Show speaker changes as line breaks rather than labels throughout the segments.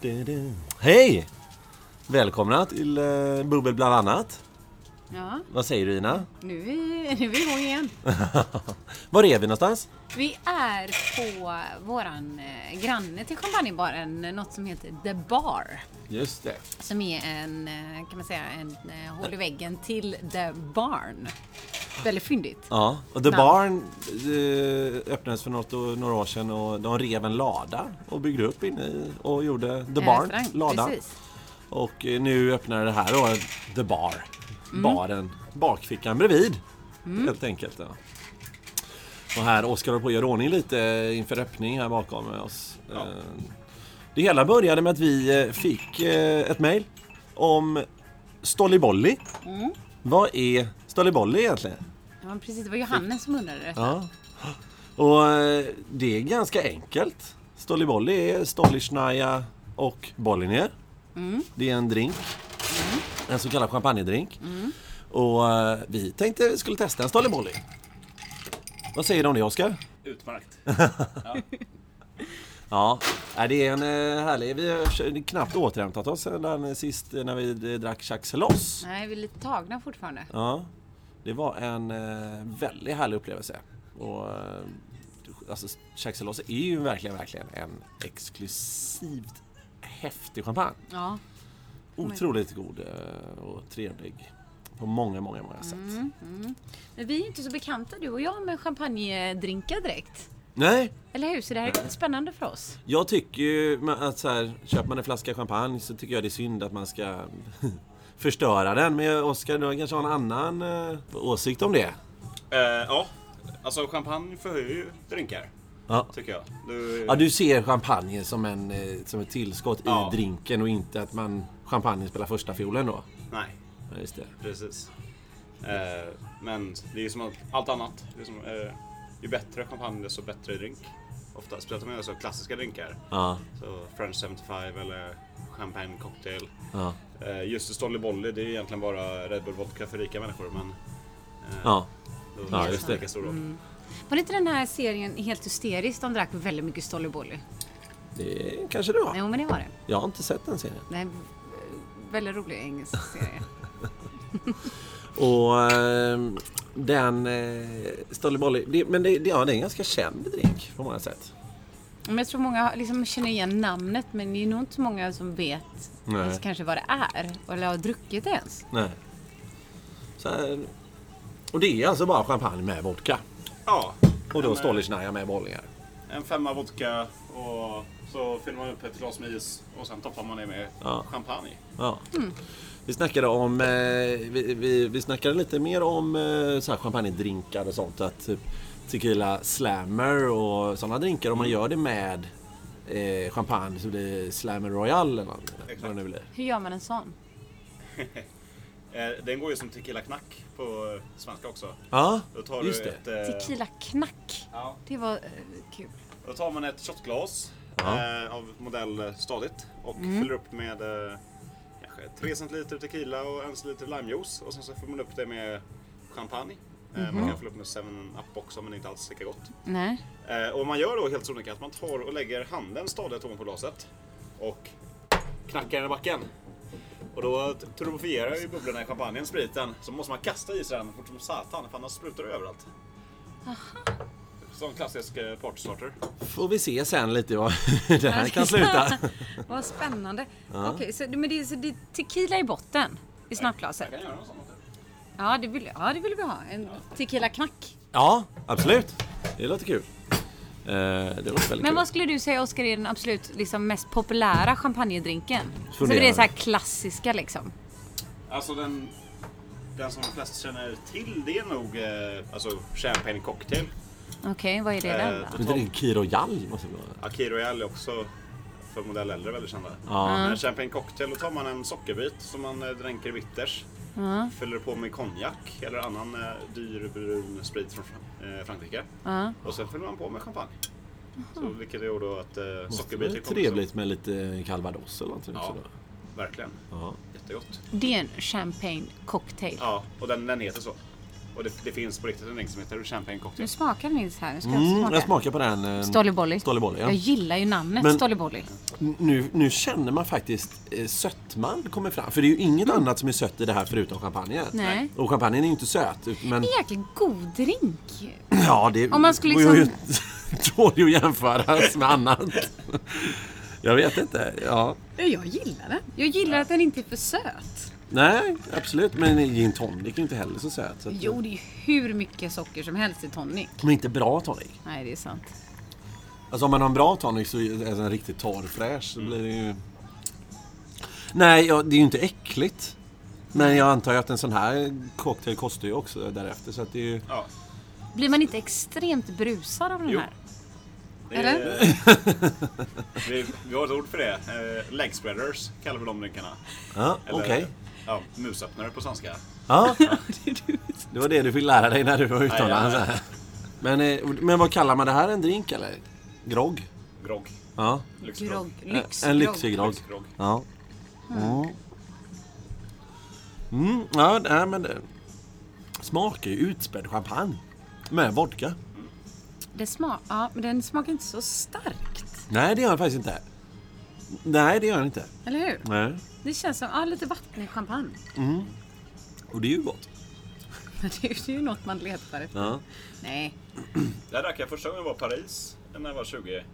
Du-du. Hej! Välkomna till eh, Bubbel bland annat.
Ja,
Vad säger du Ina?
nu är vi, nu är vi igång igen.
Var är vi någonstans?
Vi är på våran eh, granne till champagnebaren, eh, något som heter The Bar.
Just det.
Som är en, eh, kan man säga, en eh, hål i väggen till The Barn. Väldigt fyndigt.
Ja, och The
Nej.
Barn eh, öppnades för något, och- några år sedan och de rev en lada och byggde upp inne i och gjorde The
En
Barn,
restaurang,
ladan.
Eh, Precis.
Och eh, nu öppnar det här då, The Bar. Baren, bakfickan bredvid. Helt enkelt. Ja. Och här Oskar håller på att göra ordning lite eh, inför öppning här bakom oss. Eh, Det hela började med att vi eh, fick eh, ett mejl om Stollibolli. Vad är Stollibolli egentligen?
Ja, men precis. Det var Johannes som undrade detta.
Ja. Och eh, det är ganska enkelt. Stollibolli är stollichnaya och bolliner. Det är en drink. En så kallad champagnedrink. Och eh, vi tänkte vi skulle testa en stollibolli. Vad säger du om det Oskar?
Utmärkt.
Ja, nej, det är en eh, härlig... Vi har knappt återhämtat oss sedan sist när vi eh, drack Jacques Loss.
Nej, vi är lite tagna fortfarande.
Ja, det var en eh, väldigt härlig upplevelse. Och, eh, alltså, Chaxelås är ju verkligen, verkligen en exklusivt häftig champagne.
Ja,
Otroligt god eh, och trevlig på många, många, många sätt.
men vi är inte så bekanta du och jag med champagnedrinkar direkt.
Nej,
Eller hur? Så det här är lite spännande för oss.
jag tycker ju ma- att så här, köper man en flaska champagne så tycker jag det är synd att man ska förstöra den. Men Oskar, du kanske har en annan eh, åsikt om det?
Eh, ja, alltså champagne förhöjer ju drinkar.
Ja.
Tycker jag. Du,
Ja, du ser champagne som, en, eh, som ett tillskott
Ja.
i drinken och inte att man champagne spelar första fiolen då.
Nej,
Ja, just det.
precis. Eh, men det är ju som allt annat. Det är som, eh, ju bättre champagne desto bättre drink. Ofta, speciellt om man gör så klassiska drinkar.
Ja,
Så French 75 eller champagne cocktail.
ja,
Eh, just Stolly Bolly, det är egentligen bara Red Bull Vodka för rika människor. Men eh,
ja.
då
Ja,
spelar
just
det
det.
lika stor roll.
Var inte den här serien helt hysterisk? De drack väldigt mycket Stollybolly.
Det kanske det var.
Jo, men det var det.
Jag har inte sett den serien.
det är en väldigt rolig engelsk serie.
Och ehm, den... Eh, Stollibolli. Det, men det, det, ja, det är en ganska känd drink på många sätt.
Men jag tror många liksom känner igen namnet, men det är nog inte så många som vet
Nej.
ens kanske vad det är. Eller har druckit det ens.
Nej. Så här, och det är alltså bara champagne med vodka.
Ja,
Och då
en,
Stollichnaya med bollingar.
En femma vodka och så fyller man upp ett glas med is och sen toppar man det med
Ja.
champagne.
Ja. Vi snackade om eh, vi, vi, vi snackade lite mer om eh, så här champagnedrinkar och sånt. Att typ tequila slammer och sådana drinkar. Om man gör det med eh, champagne så blir det slammer royal eller något,
Exakt.
vad det nu blir.
Hur gör man en sån?
Eh, Den går ju som tequila knack på eh, svenska också.
Ja,
Då tar
just
du
det.
ett... eh,
Tequila knack.
Ja,
Det var eh, kul.
då tar man ett shotglas
Ja.
eh, av modell eh, stadigt och fyller upp med eh, kanske 3 centiliter tequila och 1 centiliter limejuice och sen så fyller man upp det med champagne. Eh, Man kan fylla upp med 7-Up också men det är inte alls lika gott.
Nej.
Eh, och man gör då helt sonika att man tar och lägger handen stadigt ovanpå glaset och knackar den i backen. Och då t- turbofierar ju bubblorna i champagnen, spriten, så måste man kasta i sig den fort som satan för annars sprutar det överallt. Som klassisk eh, partystarter.
Får vi se sen lite vad det här kan sluta.
Vad spännande. Okej, så, men det, är- så det är tequila i botten i snabbglaset?
Jag kan göra något sånt.
Ja, det vill, ja, det vill vi ha. En tequila knack.
Ja, absolut. Det låter kul. Eh, det låter väldigt
Men
kul.
vad skulle du säga Oskar är den absolut liksom, mest populära champagnedrinken? Som
Fundera.
är det så här klassiska liksom.
Alltså den, den som de flesta känner till det är nog eh, alltså champagne cocktail.
Okej, vad är det
Eh,
där då?
Men det är en Key Royal måste det vara.
Aki Royal är också för modell äldre väldigt kända.
Ja.
Men champagne cocktail, då tar man en sockerbit som man eh, dränker i bitters. Fyller på med konjak eller annan eh, dyr brun sprit från Fran- eh, Frankrike. Och sen fyller man på med champagne. Så, vilket gör då att eh,
Det är
sockerbitar kommer
trevligt med lite calvados eller någonting
Ja.
också. Då.
Som, verkligen.
Ja.
Jättegott.
Det är en champagne cocktail.
Ja, och den, den heter så. Och det, det finns på riktigt en drink som heter Champagne
Nu
Cocktail.
smakar Nils här. Nu ska jag
Mm,
smaka.
jag smakar på den. eh,
Stollebolli.
Stollebolli, ja.
Jag gillar ju namnet
Men-
Stollebolli.
Nu, nu känner man faktiskt eh, sötman kommer fram. För det är ju inget annat som är sött i det här förutom champagnen.
Mm. Nej.
Och champagnen är ju inte söt. ut- Men
Det är en jäkligt god drink.
ja, det
Om man skulle
går ju
liksom-
dåligt att jämföras med annat. Jag vet inte. Ja.
Jag gillar den. Jag gillar att den inte är för söt.
Nej, absolut. Men gin tonic är ju inte heller så söt. Så att,
Jo, det är ju hur mycket socker som helst i tonic.
Men inte bra tonic.
Nej, det är sant.
Alltså om man har en bra tonic så är den riktigt torr fräsch. Så blir det ju... Nej, ja, det är ju inte äckligt. Men jag antar ju att en sån här cocktail kostar ju också därefter. Så att det är ju...
Ja.
Blir man inte extremt brusad av den
Jo.
här?
Det är-
Eller?
vi, vi har ett ord för det. Eh, leg spreaders kallar vi de drinkarna.
Ja,
Eller,
okej.
Ja, musöppnare på svenska.
Ja. Det var det du fick lära dig när du var utomlands.
Ja, ja,
Men, eh, men vad kallar man det här? En drink eller? Grogg?
Grogg.
Ja.
Lyxgrogg.
Grogg. Lyxgrogg.
En lyxig grogg.
Lyxgrogg.
Ja. Mm. Mm, ja, nej, men det smakar ju utspädd champagne. Med vodka.
Det sma- ja, men den smakar inte så starkt.
Nej, det gör den faktiskt inte. Nej, det gör den inte.
Eller hur?
Nej.
Det känns som ja, lite vattnig champagne.
Och det är ju gott.
Men det är ju något man letar efter.
Ja.
Nej.
Där drack jag första gången jag var i Paris när jag var 20.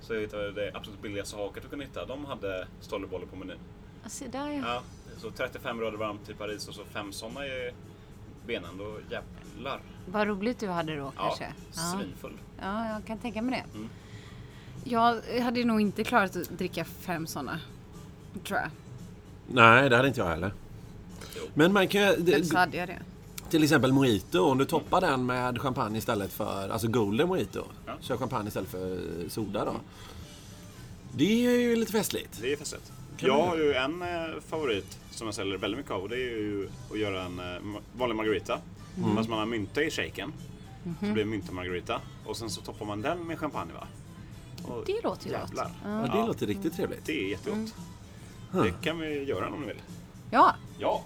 Så jag hittade det absolut billigaste haket du kunde hitta. De hade stollebollar på menyn.
Alltså, där ja.
Ja, så 35 grader varmt i Paris och så fem sådana i benen. Då jävlar.
Vad roligt du hade då
Ja, Mm.
kanske.
svinfull.
ja, jag kan tänka mig det. Jag hade nog inte klarat att dricka fem sådana. Tror jag.
Nej, det hade inte jag heller.
Jo.
Men man kan ju...
Eller
Eh,
så
det-
hade jag det.
Till exempel mojito, om du toppar den med champagne istället för... Alltså golden mojito. Kör champagne istället för soda då. Det är ju lite festligt.
Det är festligt.
Kan
Jag
man-
har ju en eh, favorit som jag säljer väldigt mycket av och det är ju att göra en eh, ma- vanlig margarita.
Mm.
Fast man har mynta i shaken.
Mhm.
Så blir det mynta margarita. Och sen så toppar man den med champagne va? Och
Det låter ju
jävlar.
gott.
Ja, det låter riktigt trevligt.
Det är jättegott. Det kan vi göra om ni vill.
Ja.
Ja,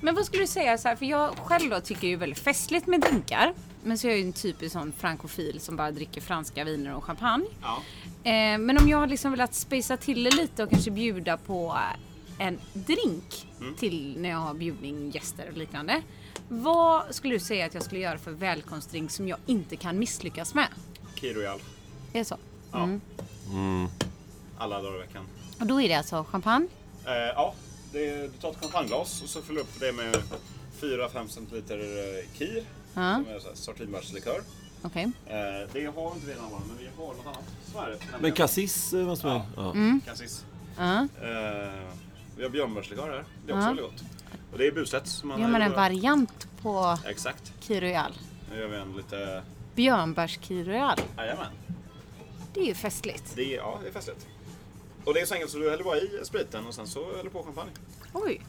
Men vad skulle du säga så här, för jag själv då tycker ju väldigt festligt med drinkar. Men så är jag ju en typisk sån frankofil som bara dricker franska viner och champagne.
ja.
Eh, men om jag har liksom velat spacea till det lite och kanske bjuda på en drink
Mm.
till när jag har bjudning, gäster och liknande. Vad skulle du säga att jag skulle göra för välkomstdrink som jag inte kan misslyckas med?
Key Royal.
Är det så?
Ja. Alla dagar i veckan.
Och då är det alltså champagne?
Eh, ja, det är, du tar ett champagneglas och så fyller du upp det med 4-5 centiliter eh, Kir.
Ja.
Som är så här sortinbärslikör.
Okej.
Eh, det har inte vi den här morgonen, men vi har något annat. Så är det.
Men
nämligen.
cassis eh, måste man... Ja.
Cassis.
Ja.
Eh, vi har björnbärslikör här. Det är också väldigt gott. Och det är buslätt. som man
Gör man en
gör-
variant på
Exakt.
Kiroyal?
Nu gör vi en lite...
Björnbärs-Kiroyal.
Jajamän.
Det är ju festligt.
Det är, ja, det är festligt. Och det är så enkelt så du häller bara i spriten och sen så häller på champagne.
Oj.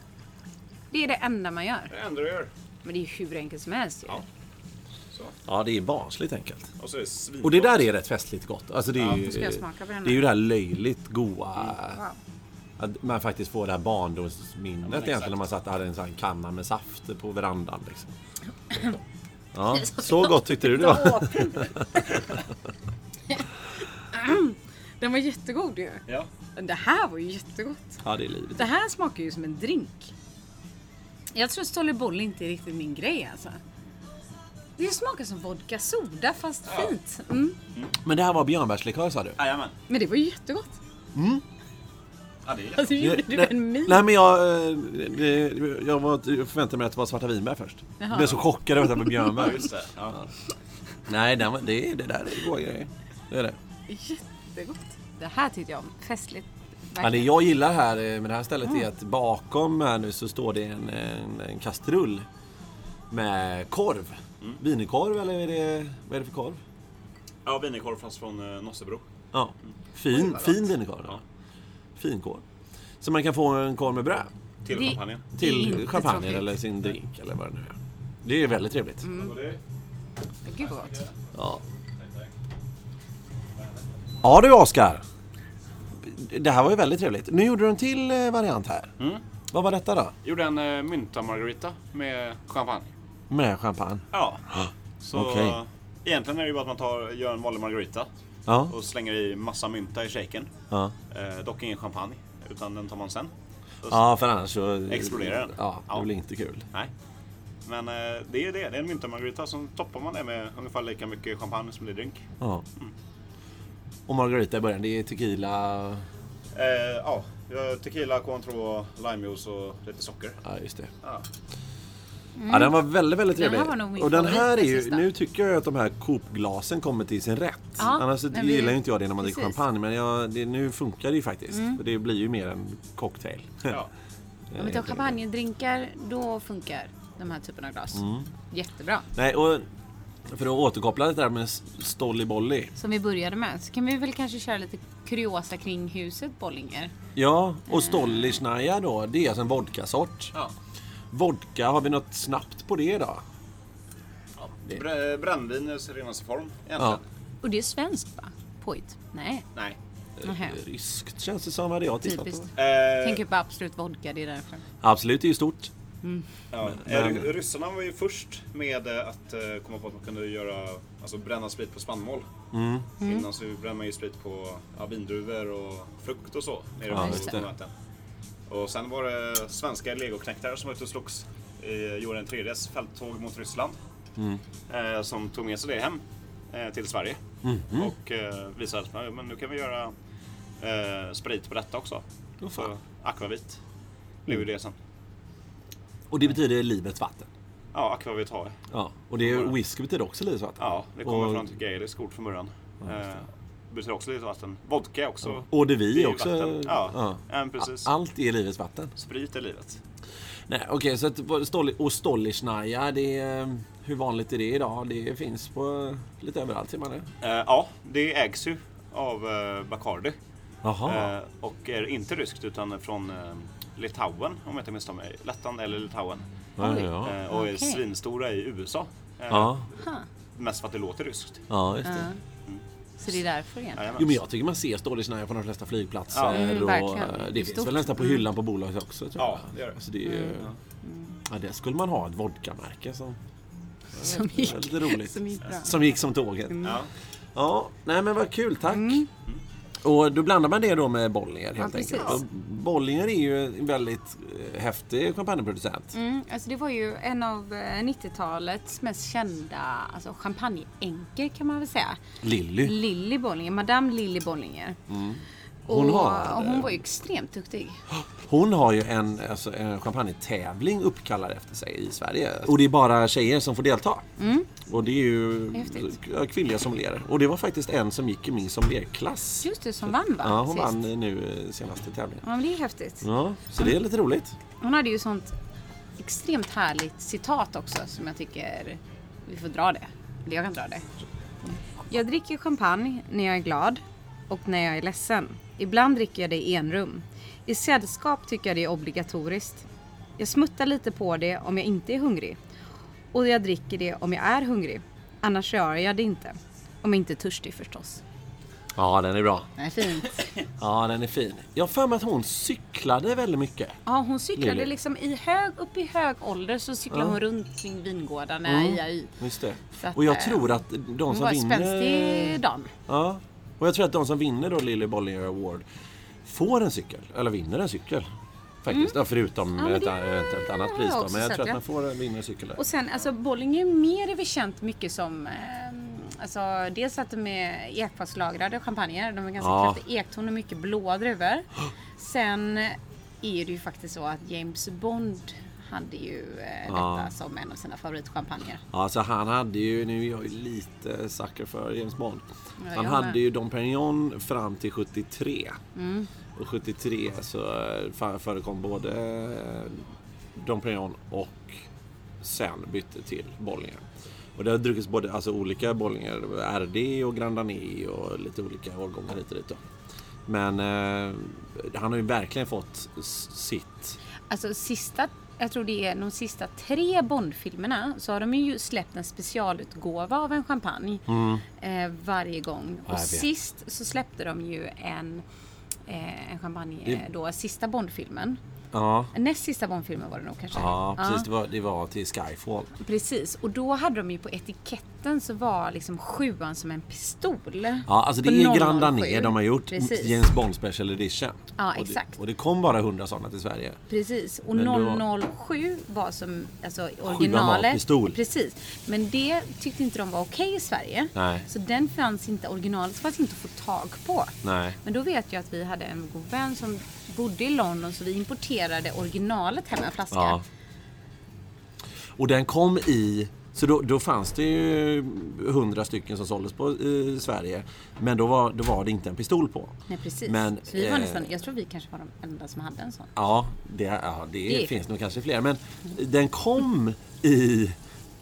Det är det enda man gör.
Det är det enda du gör.
Men det är ju hur enkelt som helst ju.
Ja. Så.
ja, det är barnsligt enkelt.
Och så är det svingott.
Och det där är rätt festligt gott. Alltså det är ju, eh,
Nu ska jag smaka på den här.
det är ju det här löjligt goa...
Wow.
Att man faktiskt får det här barndomsminnet egentligen
exakt.
när man satt och hade en sån här kanna med saft på verandan. Liksom. Ja,
Så
så gott tyckte du det var.
Den var jättegod ju.
Ja.
Det här var ju jättegott.
Ja, det är livet.
Det här smakar ju som en drink. Jag tror Stollebolli inte är riktigt min grej alltså. Det smakar som vodka soda fast
Ja.
fint. Mm.
Men det här var björnbärslikör sa du?
Jajamän.
Men det var ju jättegott.
Ja, det är jätte-
Alltså gjorde du en min?
nej men jag, eh, det- jag, var, jag förväntade mig att det var svarta vinbär först. Jag blev så chockad över att det var
Ja,
björnbär.
just det. Ja.
nej, den var, det, det där är goda grejer. Det är det.
Jättegott. Det här tyckte jag om. Festligt.
Ja, det
Verkligen. Mm.
jag gillar här eh, med det här stället är att bakom här nu så står det en, en, en kastrull med korv. Wienerkorv eller är det, vad är det för korv?
ja wienerkorv fast från eh, Nossebro.
Ja, fin, fin wienerkorv. Ja. Fin korv. Så man kan få en korv med bröd
Till
Det-
champagnen.
Det är
till
inte
champagne
tråkigt. Mm.
eller sin drink eller vad det nu är. Det är väldigt trevligt.
Och det-
Gud vad gott.
Ja. Ja du Oskar. Det här var ju väldigt trevligt. Nu gjorde du en till eh, variant här. Vad var detta då?
Gjorde en eh, mynta margarita med champagne.
Med champagne?
Ja. Så
Okej.
egentligen är det ju bara att man tar, gör en vanlig margarita
Ja.
och slänger i massa mynta i shaken.
Ja,
Eh, dock ingen champagne, utan den tar man sen.
ja för annars så...
Exploderar den.
Ja, det
Ja.
blir inte kul.
Nej. Men eh, det är det, det är en myntamargarita. Sen toppar man det med ungefär lika mycket champagne som det är drink.
Ja. Och margarita i början, det är tequila...
Eh, ja, jag har tequila, cointreau, limejuice och lite socker.
Ja, just det.
Ja.
Ja, den var väldigt, väldigt
Mm.
trevlig.
Den här var nog min
och den här är
favorit,
ju,
sista.
nu tycker jag att de här Coop-glasen kommer till sin rätt.
Ja,
Annars så
men vi-
gillar ju inte jag det när man dricker
precis. Mm.
champagne. Men jag, det, nu funkar det ju faktiskt. För det blir ju mer en cocktail.
Ja.
Om vi tar champagnedrinkar, då funkar de här typen av glas.
Mm.
Jättebra.
Nej, och för att återkoppla det där med s- Stollibolli.
Som vi började med så kan vi väl kanske köra lite kuriosa kring huset Bollinger.
Ja,
Mm.
och Stollisnaja då, det är alltså en vodkasort.
Ja.
Vodka, har vi något snabbt på det då?
Br- Brännvin i sin renaste form egentligen.
Ja.
Och det är svenskt va? Pojt? Nej.
Nej.
Eh,
Nähä.
Ryskt känns det som, hade jag tittat på.
Typiskt.
Eh,
Tänker på Absolut Vodka, det är därför.
Absolut, det är ju stort.
Ja,
Men-
ry- Ryssarna var ju först med eh, att eh, komma på att man kunde göra, alltså bränna sprit på spannmål.
Mm.
Innan så brände man ju sprit på ja, vindruvor och frukt och så. Nere
Ja,
på
just det.
möten. Och sen var det svenska legoknektar som var ute och slogs i eh, Johan IIIs fälttåg mot Ryssland.
Mm.
Eh, som tog med sig det hem eh, till Sverige.
Mhm.
Och eh, visade att "Ja, men nu kan vi göra eh, sprit på detta också.
Åh, fan.
Så akvavit blev ju det sen.
Och det betyder livets vatten.
Ja, akvavit har jag.
Ja, och det är, whisky betyder också livets vatten.
Ja, det kommer
Och-
från ett gaeliskt ord från början. Eh, betyder också lite vatten. Vodka är också.
Och det
det är
vi
ju
också. Ah,
vatten. Ja, ja, men precis.
Allt är livets vatten.
Sprit är livet.
Nej, okej, så att vad- Stolli, och Stollisnaja, det är, eh, hur vanligt är det idag? Det finns på lite överallt, ser man det.
Eh, ja, det ägs ju av eh, Bacardi.
Jaha.
Eh, och är inte ryskt utan från eh, Litauen, om jag inte misstar mig. Lettland eller Litauen.
ja, ja.
Eh, och är
Okej.
svinstora i USA. Eh,
Ja,
Mest för att det låter ryskt.
ja, just
Eh.
det.
Så det är därför egentligen.
Jajamän.
Jo men jag tycker man ser Stålisnaja på de flesta flygplatser.
Ja.
Mm,
och eh,
verkligen. Det är
det finns
stort. Mm.
väl nästan på hyllan på bolaget också. Tror
Ja,
jag.
det gör det.
Alltså, det är ju, ja, där skulle man ha ett vodkamärke som,
Som
det
gick,
är lite roligt.
som gick bra. Mm.
som gick som tåget.
Ja.
Ja, nej men vad kul, tack. Och då blandar man det då med Bollinger helt
Ja,
enkelt.
precis.
Och Bollinger är ju en väldigt eh, häftig champagneproducent.
Mm, alltså det var ju en av eh, 90-talets mest kända alltså champagneänkor kan man väl säga.
Lilly.
Lilly Bollinger, Madame Lilly Bollinger.
Mm. Hon
och,
har-
och hon var ju extremt duktig.
Hon har ju en, alltså, en champagnetävling uppkallad efter sig i Sverige. Och det är bara tjejer som får delta. Och det är ju
Mm. Häftigt.
k- kvinnliga sommelierer. Och det var faktiskt en som gick i min sommelierklass.
Just det, som vann va?
Ja, hon
sist?
vann eh, nu eh, senaste tävlingen.
Ja, men det är häftigt.
Ja, så det är lite roligt.
Hon hade ju sånt extremt härligt citat också som jag tycker vi får dra det. Eller jag kan dra det. Jag dricker champagne när jag är glad och när jag är ledsen. Ibland dricker jag det i enrum. I sällskap tycker jag det är obligatoriskt. Jag smuttar lite på det om jag inte är hungrig. Och jag dricker det om jag är hungrig. Annars gör jag det inte. Om jag inte är törstig förstås.
Ja, den är bra.
Nej, fint.
Ja, den är fin. Jag har för mig att hon cyklade väldigt mycket.
Ja, hon cyklade
Lili.
liksom i hög, upp i hög ålder så cyklade hon runt kring vingårdarna i AI.
Just det.
Så att,
Och jag
eh,
tror att de
Hon
som
var
vinner...
spänstig dam.
Ja. Och jag tror att de som vinner då Lily Bollinger Award får en cykel. Eller vinner en cykel. Faktiskt. Ja, förutom
Mm. Ja, men
ett
det
eventuellt annat
har
pris
jag
då.
också
Men jag
sett,
tror att
ja.
man får en vinnarcykel där.
Och sen alltså Bollinger mer är väl känt mycket som eh, Alltså dels att de är ekfatslagrade champagner. De är ganska
Ja.
kraftiga ekton och mycket blåa druvor. Sen är det ju faktiskt så att James Bond hade ju eh,
Ja.
detta som en av sina favoritchampagner.
Ja, så han hade ju, nu är jag ju lite sucker för James Bond.
Ja,
Han
jag med.
hade ju Dom Perignon fram till 73.
Mm.
Och 73 så eh, fa- förekom både eh, Dom Perignon och sen bytte till Bollinger. Och det har druckits både alltså, olika Bollinger, RD och Grand Dané och lite olika årgångar hit och dit. Då. Men eh, han har ju verkligen fått s- sitt.
Alltså sista, jag tror det är de sista tre Bond-filmerna så har de ju släppt en specialutgåva av en champagne eh, varje gång.
Mm. jag
Och
vet.
sist så släppte de ju en, eh, en champagne, eh, då sista Bond-filmen.
Ja,
Näst sista Bondfilmen var det nog kanske.
ja precis.
Ja,
Det, var, det var till Skyfall.
precis. Och då hade de ju på etiketten så var liksom sjuan som en pistol.
Ja, alltså det
På
är Granda
007.
ner de har gjort.
Precis.
James Bond Special Edition.
Ja,
och
exakt.
Det, och det kom bara 100 sådana till Sverige.
Precis. Och
Men då-
007 var som alltså, originalet.
pistol.
Precis. Men det tyckte inte de var okej i Sverige.
Nej.
Så den fanns inte, originalet fanns inte att få tag på.
Nej.
Men då vet jag att vi hade en god vän som bodde i London så vi importerade originalet hem med en flaska.
Ja. Och den kom i... Så då, då fanns det ju 100 stycken som såldes på i Sverige. Men då var, då var det inte en pistol på.
Nej, precis.
Men,
så vi var
eh,
nästan, jag tror vi kanske var de enda som hade en sån.
Ja, det, ja, det,
Det är-
finns nog kanske fler. Men den kom i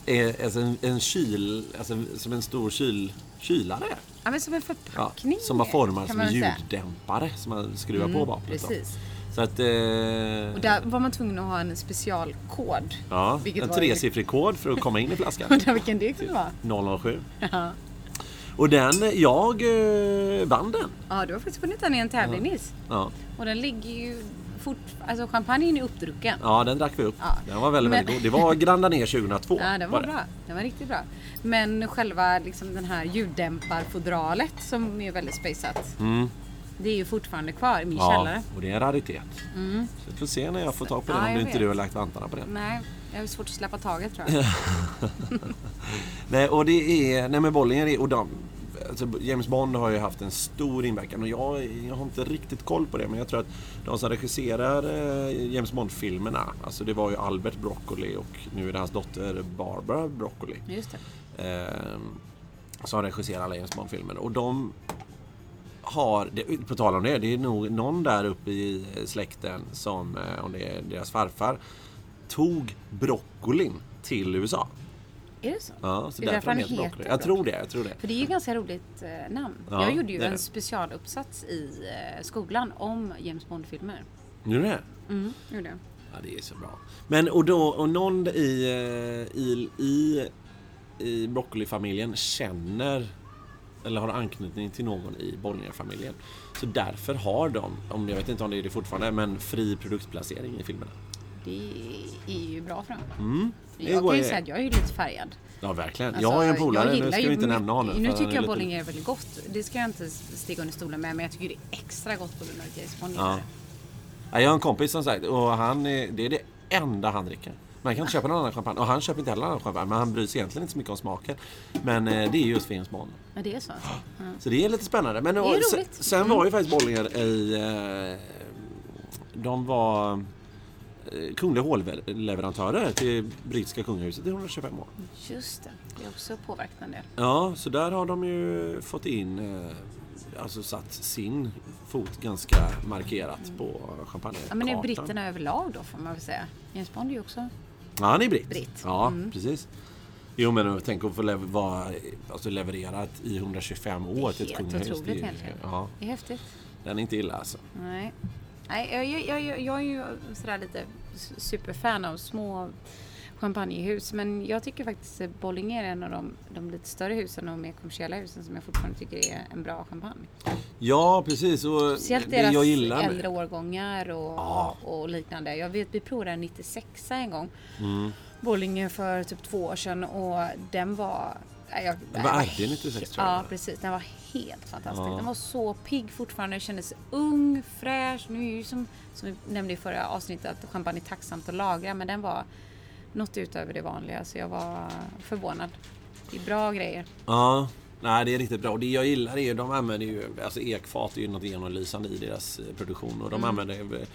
eh, alltså en, en kyl... Alltså som en stor kyl, kylare.
Ja, men som en
Ja,
förpackning.
som var formad
kan
som
man
en
säga. Mm,
ljuddämpare som man skruvar på vapnet. då.
Precis.
Så att... Eh,
Och där var man tvungen att ha en specialkod.
ja,
vilket
en
var-
tresiffrig kod för att komma in i flaskan.
Undrar vilken det kunde vara.
007.
Ja.
Och den, jag eh, vann den.
Ja, du har faktiskt vunnit den i en tävling Nils.
Ja,
Och den ligger ju fort... Alltså champagnen är uppdrucken.
ja den drack vi upp.
Ja.
Den var väldigt,
Men-
väldigt god. Det var Granda ner 2002.
Ja, den var bra. Den var riktigt bra. Men själva liksom den här ljuddämparfodralet som är väldigt spejsat. Det är ju fortfarande kvar i
Mm.
min
Ja,
källare. Mm.
och det är en raritet. Så vi får se när jag får tag på den
Ja,
om
jag
inte
vet.
du har lagt vantarna på den.
Nej, jag har svårt att släppa taget tror jag.
Nej, och det är... Nej, men Bollinger är... Och de, alltså James Bond har ju haft en stor inverkan och jag, jag har inte riktigt koll på det men jag tror att de som regisserar eh, James Bond-filmerna, alltså det var ju Albert Broccoli och nu är det hans dotter Barbara Broccoli.
Just det.
eh, som regisserar alla James Bond-filmer. Och de har, det- på tal om det, det är nog någon där uppe i släkten som, eh, om det är deras farfar, tog broccolin till USA.
Är det så?
Ja, så
det
därför han heter broccoli. Jag tror det, jag tror det.
För det är ju ganska roligt eh, namn.
Ja,
jag gjorde ju
det är
en
det.
specialuppsats i eh, skolan om James Bond-filmer.
Nu är det?
Mm, gjorde jag.
Ja, det är så bra. Men och då, och någon i, eh, i, i, i broccolifamiljen känner eller har anknytning till någon i Bollinger-familjen. Så därför har de, om jag vet inte om det är det fortfarande, men fri produktplacering i filmerna.
Det är ju bra för dem.
det
Jag
går
kan ju
ju.
säga att jag är ju lite färgad.
Ja, verkligen.
Alltså,
jag har ju en polare,
gillar
nu ska
ju
vi inte
my-
nämna honom. för
Nu
han
tycker
är
jag
lite-
Bollinger är väldigt gott. Det ska jag inte sticka under stolen med. Men jag tycker det är extra gott på grund av att James Bond
Ja.
ja.
Ja, Jag har en kompis som sagt, och han är, det är det enda han dricker. Man kan inte köpa någon annan champagne. Och han köper inte heller annan champagne, men han bryr sig egentligen inte så mycket om smaken. Men eh, det är just för James Bond.
Men det är så.
Så det är lite spännande. Men
Mm. är
och, sen,
roligt. Mm.
sen var ju faktiskt Bollinger i... Eh, de var eh, kungliga hovleverantörer till brittiska kungahuset i 125 år.
Mm. Just det. Det är också påverkat en del.
Ja, så där har de ju fått in... Eh, alltså satt sin fot ganska markerat på champagnekartan.
Mm. Ja, men det är britterna överlag då får man väl säga. James Bond är ju också...
Ja, han är britt.
Britt. Mm.
Ja, precis. Jo men tänk att få lev- vara, alltså levererat i 125 år till ett
helt
kungahus.
otroligt
är-
egentligen.
ja,
Det är häftigt.
den är inte illa alltså.
Nej. Nej, jag, jag, jag, jag, jag är ju sådär lite s- superfan av små champagnehus. Men jag tycker faktiskt att Bollinger är en av de, de lite större husen och mer kommersiella husen som jag fortfarande tycker är en bra champagne.
Ja, precis. Och
Speciellt
det
deras
jag gillar med-
äldre årgångar och,
Ja.
och liknande. Jag vet vi provade en 96 en gång.
Mm.
Bollinger för typ två år sedan och den var... nej, Jag,
Den var Agde 96 tror jag.
Ja precis, den var helt fantastisk.
Ja.
Den var så pigg fortfarande, kändes ung, fräsch. Nu är ju som, som vi nämnde i förra avsnittet att champagne är tacksamt att lagra men den var något utöver det vanliga så jag var förvånad. Det är bra grejer.
Ja, nej det är riktigt bra. Och det jag gillar är ju, de använder ju, alltså ekfat är ju något genomlysande i deras eh, produktion. Och de använder ju eh,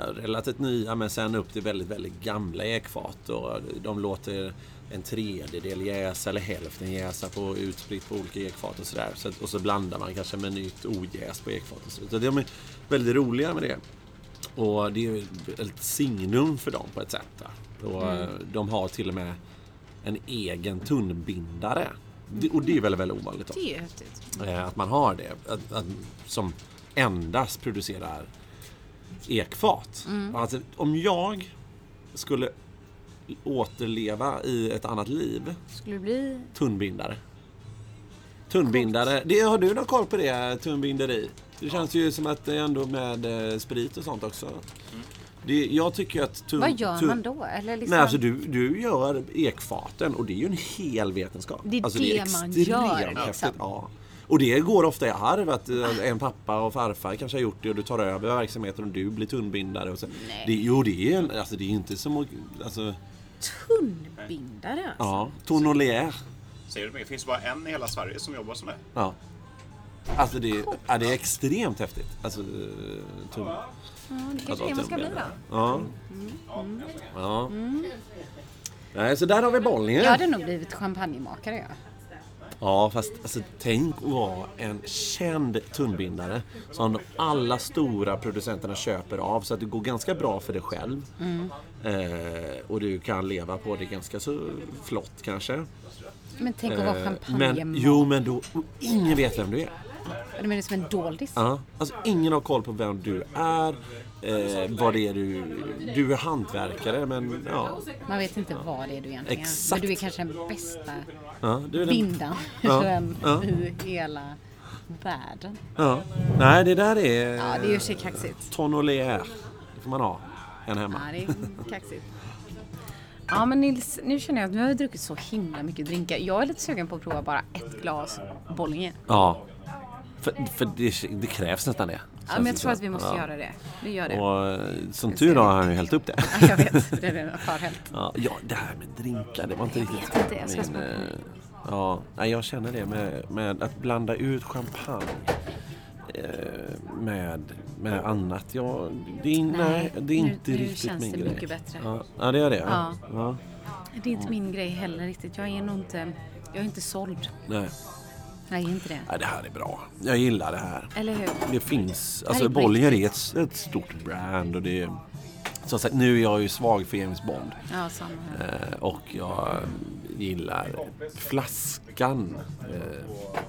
relativt nya men sen upp till väldigt, väldigt gamla ekfat. Och de låter en tredjedel jäsa eller hälften jäsa på, utspritt på olika ekfat och sådär. Så, att- och så blandar man kanske med nytt ojäst på ekfat. Och så, så de är väldigt roliga med det. Och det är ju ett signum för dem på ett sätt. va. Och eh, De har till och med en egen tunnbindare. Det- Och det är väl väldigt ovanligt då,
Det är ju häftigt.
eh, att man har det. Att, att, som endast producerar ekfat. Alltså, om jag skulle återleva i ett annat liv,
Skulle det bli
tunnbindare. Tunnbindare, det, har du någon koll på det? Tunnbinderi? Det känns ju som att det är ändå med eh, sprit och sånt också. Det, jag tycker att... tu-
Vad gör
tu-
man då? Eller liksom,
Mm, Nej, alltså du, du gör ekfaten och det är ju en hel vetenskap.
Det är
alltså,
det man gör,
extremt
liksom.
häftigt, Ja. Och det går ofta i arv att eh, en pappa och farfar kanske har gjort det och du tar över verksamheten och du blir tunnbindare. Och så.
Nej.
Det, jo, det är, en- alltså, det är inte som att- alltså,
Tunnbindare alltså.
ja, Tonnelier.
Ser du mig? Det finns bara en i hela Sverige som jobbar som det.
Ja. Alltså det, ja, det är extremt häftigt. Alltså, eh, tunn,
Ja, det kanske är det
Alltså, att
man
vara
ska bli
tunnbindare.
då.
Ja. ja. Nej, så där har vi Bollinger.
Jag hade nog blivit champagnemakare jag.
Ja, fast alltså, tänk att vara en känd tunnbindare som de alla stora producenterna köper av så att det går ganska bra för dig själv. Eh, och du kan leva på det ganska så flott kanske.
Men tänk att vara
Eh,
champagnemakare.
men, jo, men då, och ingen vet vem du är.
Du menar som en doldis?
Ja, alltså ingen har koll på vem du är, eh, vad det är du... Du är hantverkare, men ja.
Man vet inte vad det är du egentligen är.
Exakt.
Men du är kanske den bästa
ja du är den-
bindan
Ja, ja.
i hela världen.
Ja. Nej, det där är...
Ja, det är ju i och för sig kaxigt.
Tonnelier. Det får man ha. En hemma.
Ja, det är kaxigt. Ja, men Nils, nu känner jag att nu har jag druckit så himla mycket drinkar. Jag är lite sugen på att prova bara ett glas Bollinger.
Ja. För, för det, det krävs nästan det.
Ja, men jag tror att vi måste göra det. Vi gör det.
Och eh, som tur då har han ju hällt upp det.
Ja, Jag vet, det är redan förhällt.
Ja, ja, det här med drinkar, det var inte riktigt
vet inte, jag ska smaka.
eh, Ja, nej, jag känner det med, med att blanda ut champagne eh, med, med annat. Ja, det, är, nej,
Nej,
det är
nu-
inte
nu
riktigt
känns
min
det
grej.
mycket bättre.
Ja, ja det gör det. Ja.
Ja.
Ja.
Det är inte min grej heller riktigt. Jag är nog inte, jag är inte såld.
Nej.
Nej, jag är inte det.
nej, det här är bra. Jag gillar det här.
Eller hur?
Det finns,
Det
alltså
är på
Bollinger är ett, ett stort brand och det är, som sagt, nu är jag ju svag för James Bond.
Ja, samma här.
Eh, och jag gillar flaskan. Eh,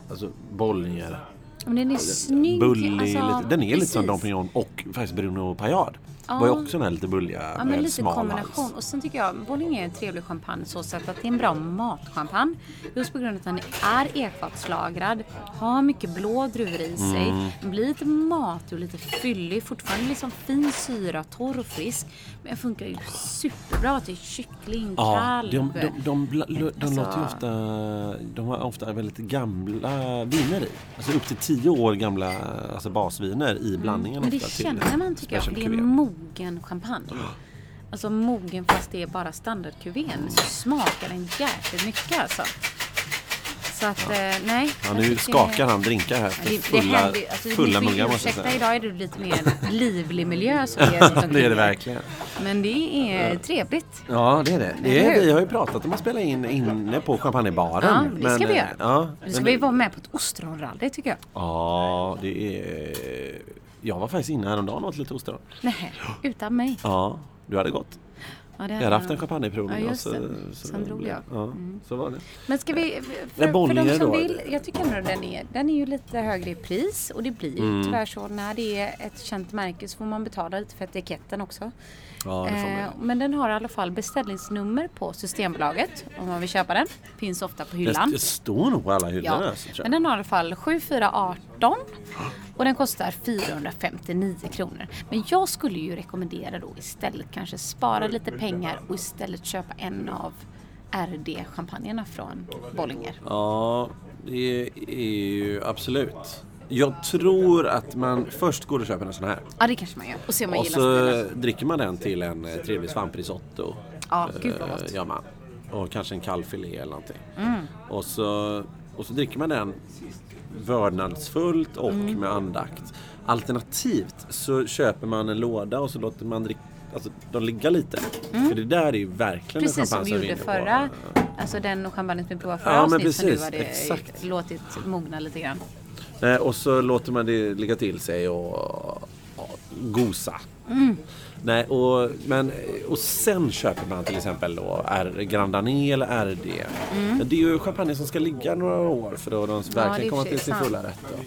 alltså Bollinger.
Men den är snygg. alltså,
Bullig. lite, den är lite som
precis.
Dom Pignon och faktiskt Bruno Pajard.
Ja.
Var ju också den här lite bulliga eh,
Ja,
med
men lite
smal
kombination.
hals.
Och sen tycker jag Bollinger är en trevlig champagne så sätt att det är en bra matchampagne. Just på grund av att den är ekfatslagrad, har mycket blå druvor i sig,
Mm.
blir lite matig och lite fyllig, fortfarande liksom fin syra, torr och frisk. Men den funkar ju superbra till kyckling,
Ja,
kalv.
de, de, de, bla- de,
Alltså-
låter ju ofta, de har ofta väldigt gamla viner i. Alltså upp till tio år gamla alltså basviner i blandningen.
Mm. Men det
ofta till
känner man tycker jag,
special
det är
cuvée.
mogen champagne. Alltså mogen fast det är bara standardkuvén så smakar den jäkligt mycket alltså. Så att, eh, nej.
Ja,
jag
nu
tycker-
skakar han drinkar här.
Ja, Det, det
fulla
händer, alltså, du
fulla
får ju
muggar måste jag
ursäkta,
säga.
Idag är det lite mer livlig miljö som vi är runt
Det är
omkring
det
här.
verkligen.
Men det är trevligt.
Ja, det är det. det
Eller
är,
hur?
vi har ju pratat om att spela in inne på champagnebaren.
Ja, det ska vi
eh,
göra.
Ja,
Nu ska
men-
vi vara med på ett ostronrally tycker jag.
ja, det är... Jag var faktiskt inne häromdagen och åt lite ostron.
Nej, utan mig.
Ja, du hade gått.
Ja, det
Jag hade haft en
jag.
champagneprovning.
Ja,
och
just det. Sen drog jag.
Ja, så var det.
Men ska vi, för,
Men
för
Bollinger
de som
då?
vill, jag tycker ändå den är, den är ju lite högre i pris och det blir ju
Mm.
tyvärr så när det är ett känt märke så får man betala lite för etiketten också.
Ja, det får man
Eh,
göra.
men den har i alla fall beställningsnummer på Systembolaget om man vill köpa den. Finns ofta på hyllan.
Det står nog på alla hyllorna.
Ja,
så tror
men
jag.
den har i alla fall 7418 och den kostar 459 kronor. Men jag skulle ju rekommendera då istället kanske spara lite pengar och istället köpa en av RD-champagnerna från Bollinger.
Ja, det är ju absolut. Jag tror att man först går och köper en sån här.
Ja, det kanske man gör. Och se om man
Och
gillar
så
stilen.
dricker man den till en eh, trevlig svamprisotto.
Ja, gud vad
Eh,
gott. Mm.
gör man. Och kanske en kall filé eller någonting. Och, så, och så dricker man den vördnadsfullt och
Mm.
med andakt. Alternativt så köper man en låda och så låter man drick, alltså, de ligga lite. För det där är ju verkligen en
Mm. Precis som
champagne
vi
vi är
gjorde
inne på.
förra, alltså den och champagnen som vi provade förra
Ja, men
avsnittet som du
precis,
hade
exakt.
låtit mogna lite grann.
Eh, Och så låter man det ligga till sig och ja, gosa.
Mm.
Nej, och, men, och sen köper man till exempel då R, Grand Dané eller RD. Men det är ju champagne som ska ligga några år för då de
Mm. det är
verkligen
i och
kommer
för sig
till sin
sant.
fulla rätt. Då. Men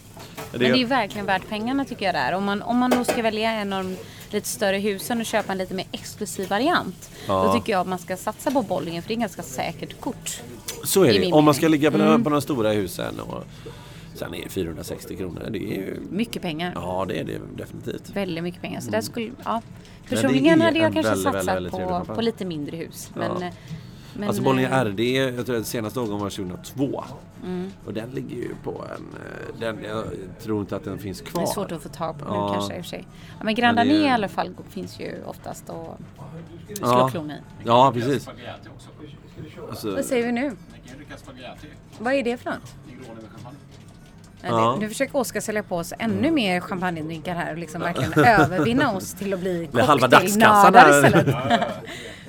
Men det är ju verkligen värt pengarna tycker jag det är. Om man, om man då ska välja en av de lite större husen och köpa en lite mer exklusiv variant.
Ja.
Då tycker jag att man ska satsa på Bollingen för det är ett ganska säkert kort.
så är
i
det.
min
Om man
mening. Mm.
ska ligga på, de, på de stora husen och, Sen är det 460 kronor. Det är ju...
Mycket pengar.
Ja, det är det definitivt.
Väldigt mycket pengar. Så där skulle, ja. Personligen
är
hade jag
en
kanske
väldigt,
satsat
väldigt, väldigt trevlig
på,
champagne.
på lite mindre hus. Men,
Ja.
men,
alltså Bonnier
eh,
RD, jag tror att senaste årgången var 2002. Och den ligger ju på en... eh, Den, jag tror inte att den finns
Det
kvar.
är svårt att få tag på nu
Ja.
kanske i och för sig. Ja, men Grand Danier
Men det är-
i alla fall finns ju oftast att slå
Ja.
klon i.
Ja, precis.
Spagliati också.
Alltså,
Vad säger vi nu?
Ni kan ju dricka spagliati.
Vad är det för något?
Negroni med champagne.
Ja.
Ja. Mm.
det- Nu försöker Oskar sälja på oss ännu mer champagnedrinkar här och liksom verkligen övervinna oss till att bli
är halva dagskassan
cocktailnördar
här.
istället.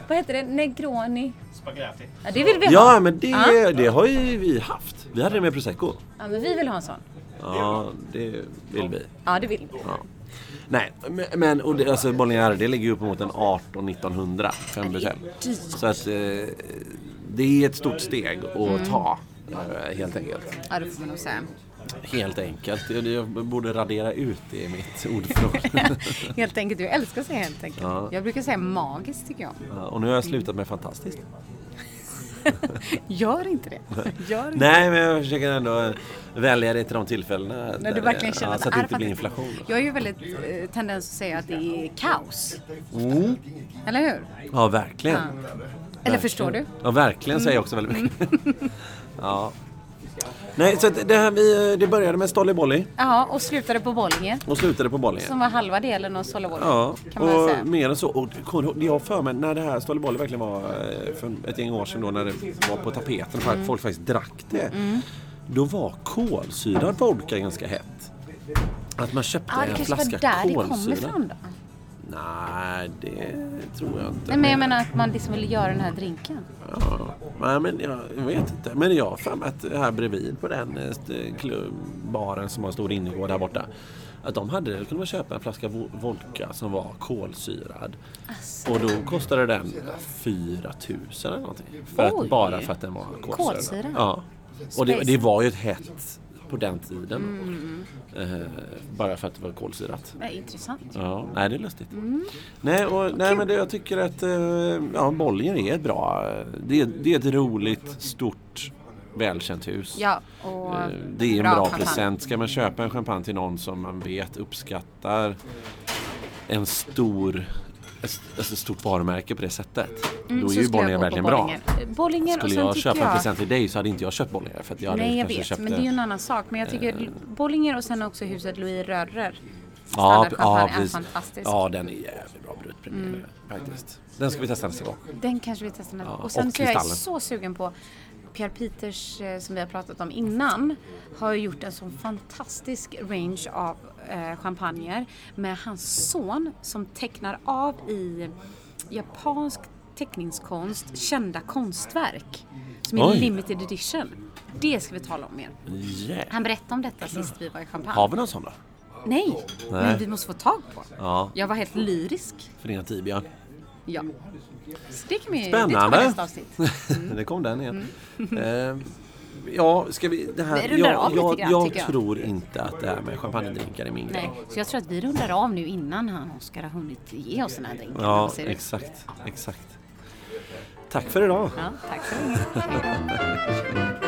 Vad heter det? Negroni?
Spagliati.
Ja, det vill vi ha.
ja, men det,
Ja.
det har ju vi haft. Vi hade det med prosecco.
Ja, men vi vill ha en sån.
Ja, det vill vi.
Ja, det vill vi.
Nej, men- men och det, alltså Bonnier RD ligger ju uppemot en 18-1900 femdecem. Så att eh, det är ett stort steg
Mm.
att ta. eh, Helt enkelt.
Ja, det får man nog säga.
Helt enkelt. Jag- Jag borde radera ut det i mitt ordförråd.
Helt enkelt, du älskar att säga helt enkelt.
Ja.
Jag brukar säga magiskt tycker jag.
Ja, Och nu har jag slutat med fantastiskt.
Gör inte det. Gör inte
Nej, men jag försöker ändå välja det till de tillfällena.
När
där
du
det-
verkligen känner
ja,
att
Så att
är
det inte blir
fantastiskt.
inflation.
Jag är ju väldigt eh, tendens att säga att det är kaos. Eller hur?
Mm. Ja, verkligen.
Eller förstår du?
Ja, verkligen säger jag också väldigt mycket.
Mm.
Ja. Nej, så att det här vi, det började med Stolly Bolly
Ja, och slutade på Bollinger.
och slutade på Bolly.
Som var halva delen av Sollevold.
Ja,
Kan man säga.
och mer än så. Och kommer du ihåg, jag har för mig när det här Stolly Bolly verkligen var eh, för ett gäng år sedan då när det var på tapeten och
Mm.
folk faktiskt drack det. Då var kolsyrad vodka ganska hett. Att man köpte
Ja, det
en
kanske var
flaska
där det kom
kolsyra.
ifrån då.
Nej, det tror jag inte.
Nej, men jag menar att man liksom ville göra den här drinken.
Ja, nej, men jag jag vet inte. Men jag har för mig att här bredvid på den eh, st- klubb- baren som har en stor innergård här borta. Att de hade, då kunde man köpa en flaska vo- vodka som var kolsyrad. Och då kostade den 4000 eller någonting. För
Oj.
att, bara för att den var kolsyrad.
Kolsyra.
Ja. Och det,
Space.
det var ju ett hett på den tiden. Eh, bara för att det var kolsyrat.
Men intressant.
Ja, nej det är lustigt.
Mm.
Nej, och, nej men det, jag tycker att eh, ja, Bollinger är ett bra... eh, Det, är- det är ett roligt, stort, välkänt hus.
Ja, och
Eh, det är en bra,
bra champagne. Mm,
present. Ska man köpa en champagne till någon som man vet uppskattar en stor... ett- Alltså ett stort varumärke på det sättet. då
Mm, så
är ju
skulle jag
Bollinger
gå på
verkligen bra.
Bollinger. Eh, Bollinger och
Skulle
sen
jag
tycker
köpa en present till dig så hade inte jag köpt Bollinger. För att jag Eh. hade
Nej, jag
kanske
vet.
köpt
Men det är ju en annan sak. Men jag tycker Bollinger och sen också huset Louis Rörer.
Ja, ja,
Standardchampagne är
precis.
fantastisk. Mm.
ja, den är jävligt bra brudpremiär faktiskt. Den ska vi testa nästa gång.
Den kanske vi testar nästa
Ja,
Och sen
och
så jag är
Kristallen.
så sugen på Pierre Peters eh, som vi har pratat om innan har ju gjort en sån fantastisk range av eh, champagner med hans son som tecknar av i japansk teckningskonst kända konstverk som är
Oj.
limited edition. Det ska vi tala om mer.
Yeah.
Han berättade om detta sist vi var i
Har
Champagne.
vi någon sån då?
Nej, men
Nej.
vi måste få tag på.
Ja,
Jag var helt lyrisk.
Förenat Tibia.
Ja. Så det kan vi Det tar
Spännande.
vi nästa avsnitt. Mm.
Det kom den igen. Eh, ja, ska vi... Det här,
Vi rundar
jag
av lite
jag,
grann,
jag
tycker jag.
tror inte att det här med champagnedrinkar är min
Nej,
grej.
så jag tror att vi rundar av nu innan han Oskar har hunnit ge oss den här drinken.
Ja,
Vad säger du?
exakt. Exakt. Tack för idag.
ja, tack så mycket.